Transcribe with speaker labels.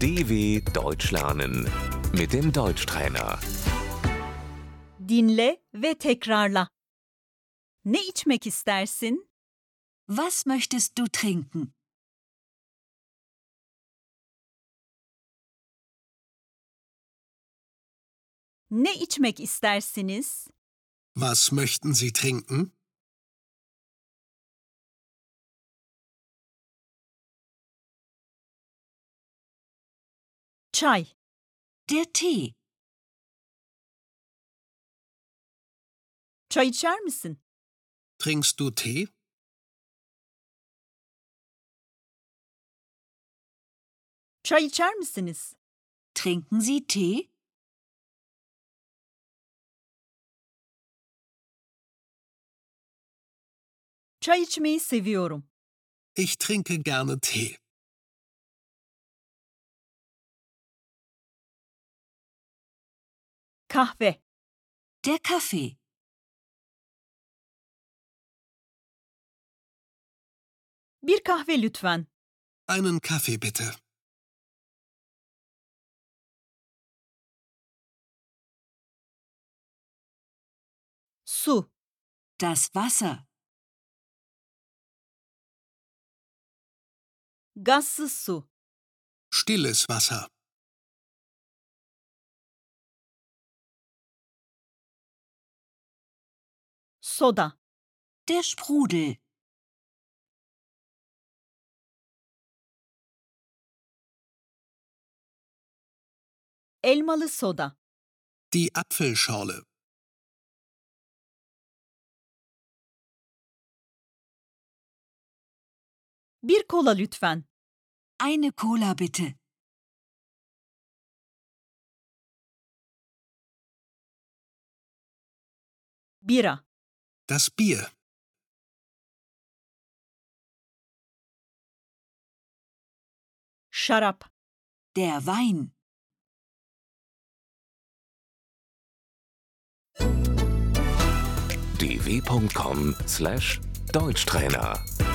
Speaker 1: DW Deutsch lernen mit dem Deutschtrainer.
Speaker 2: Dinle ve tekrarla. Ne içmek istersin?
Speaker 3: Was möchtest du trinken?
Speaker 2: Ne içmek istersiniz?
Speaker 4: Was möchten Sie trinken?
Speaker 2: Çay.
Speaker 3: Der Tee.
Speaker 2: Çay içer misin?
Speaker 4: Trinkst du Tee?
Speaker 2: Çay içer misiniz?
Speaker 3: Trinken Sie Tee?
Speaker 2: Çay içmeyi seviyorum.
Speaker 4: Ich trinke gerne Tee.
Speaker 2: Kahve.
Speaker 3: Der Kaffee.
Speaker 2: Bir kahve lütfen.
Speaker 4: Einen Kaffee bitte.
Speaker 2: Su.
Speaker 3: Das Wasser.
Speaker 2: Gazsız su.
Speaker 4: Stilles Wasser.
Speaker 2: Soda.
Speaker 3: Der Sprudel.
Speaker 2: Elmalı soda.
Speaker 4: Die Apfelschorle.
Speaker 2: Bir kola lütfen.
Speaker 3: Eine Cola bitte.
Speaker 2: Bira.
Speaker 4: Das Bier.
Speaker 2: Şarap.
Speaker 3: Der Wein.
Speaker 1: dw.com/deutschtrainer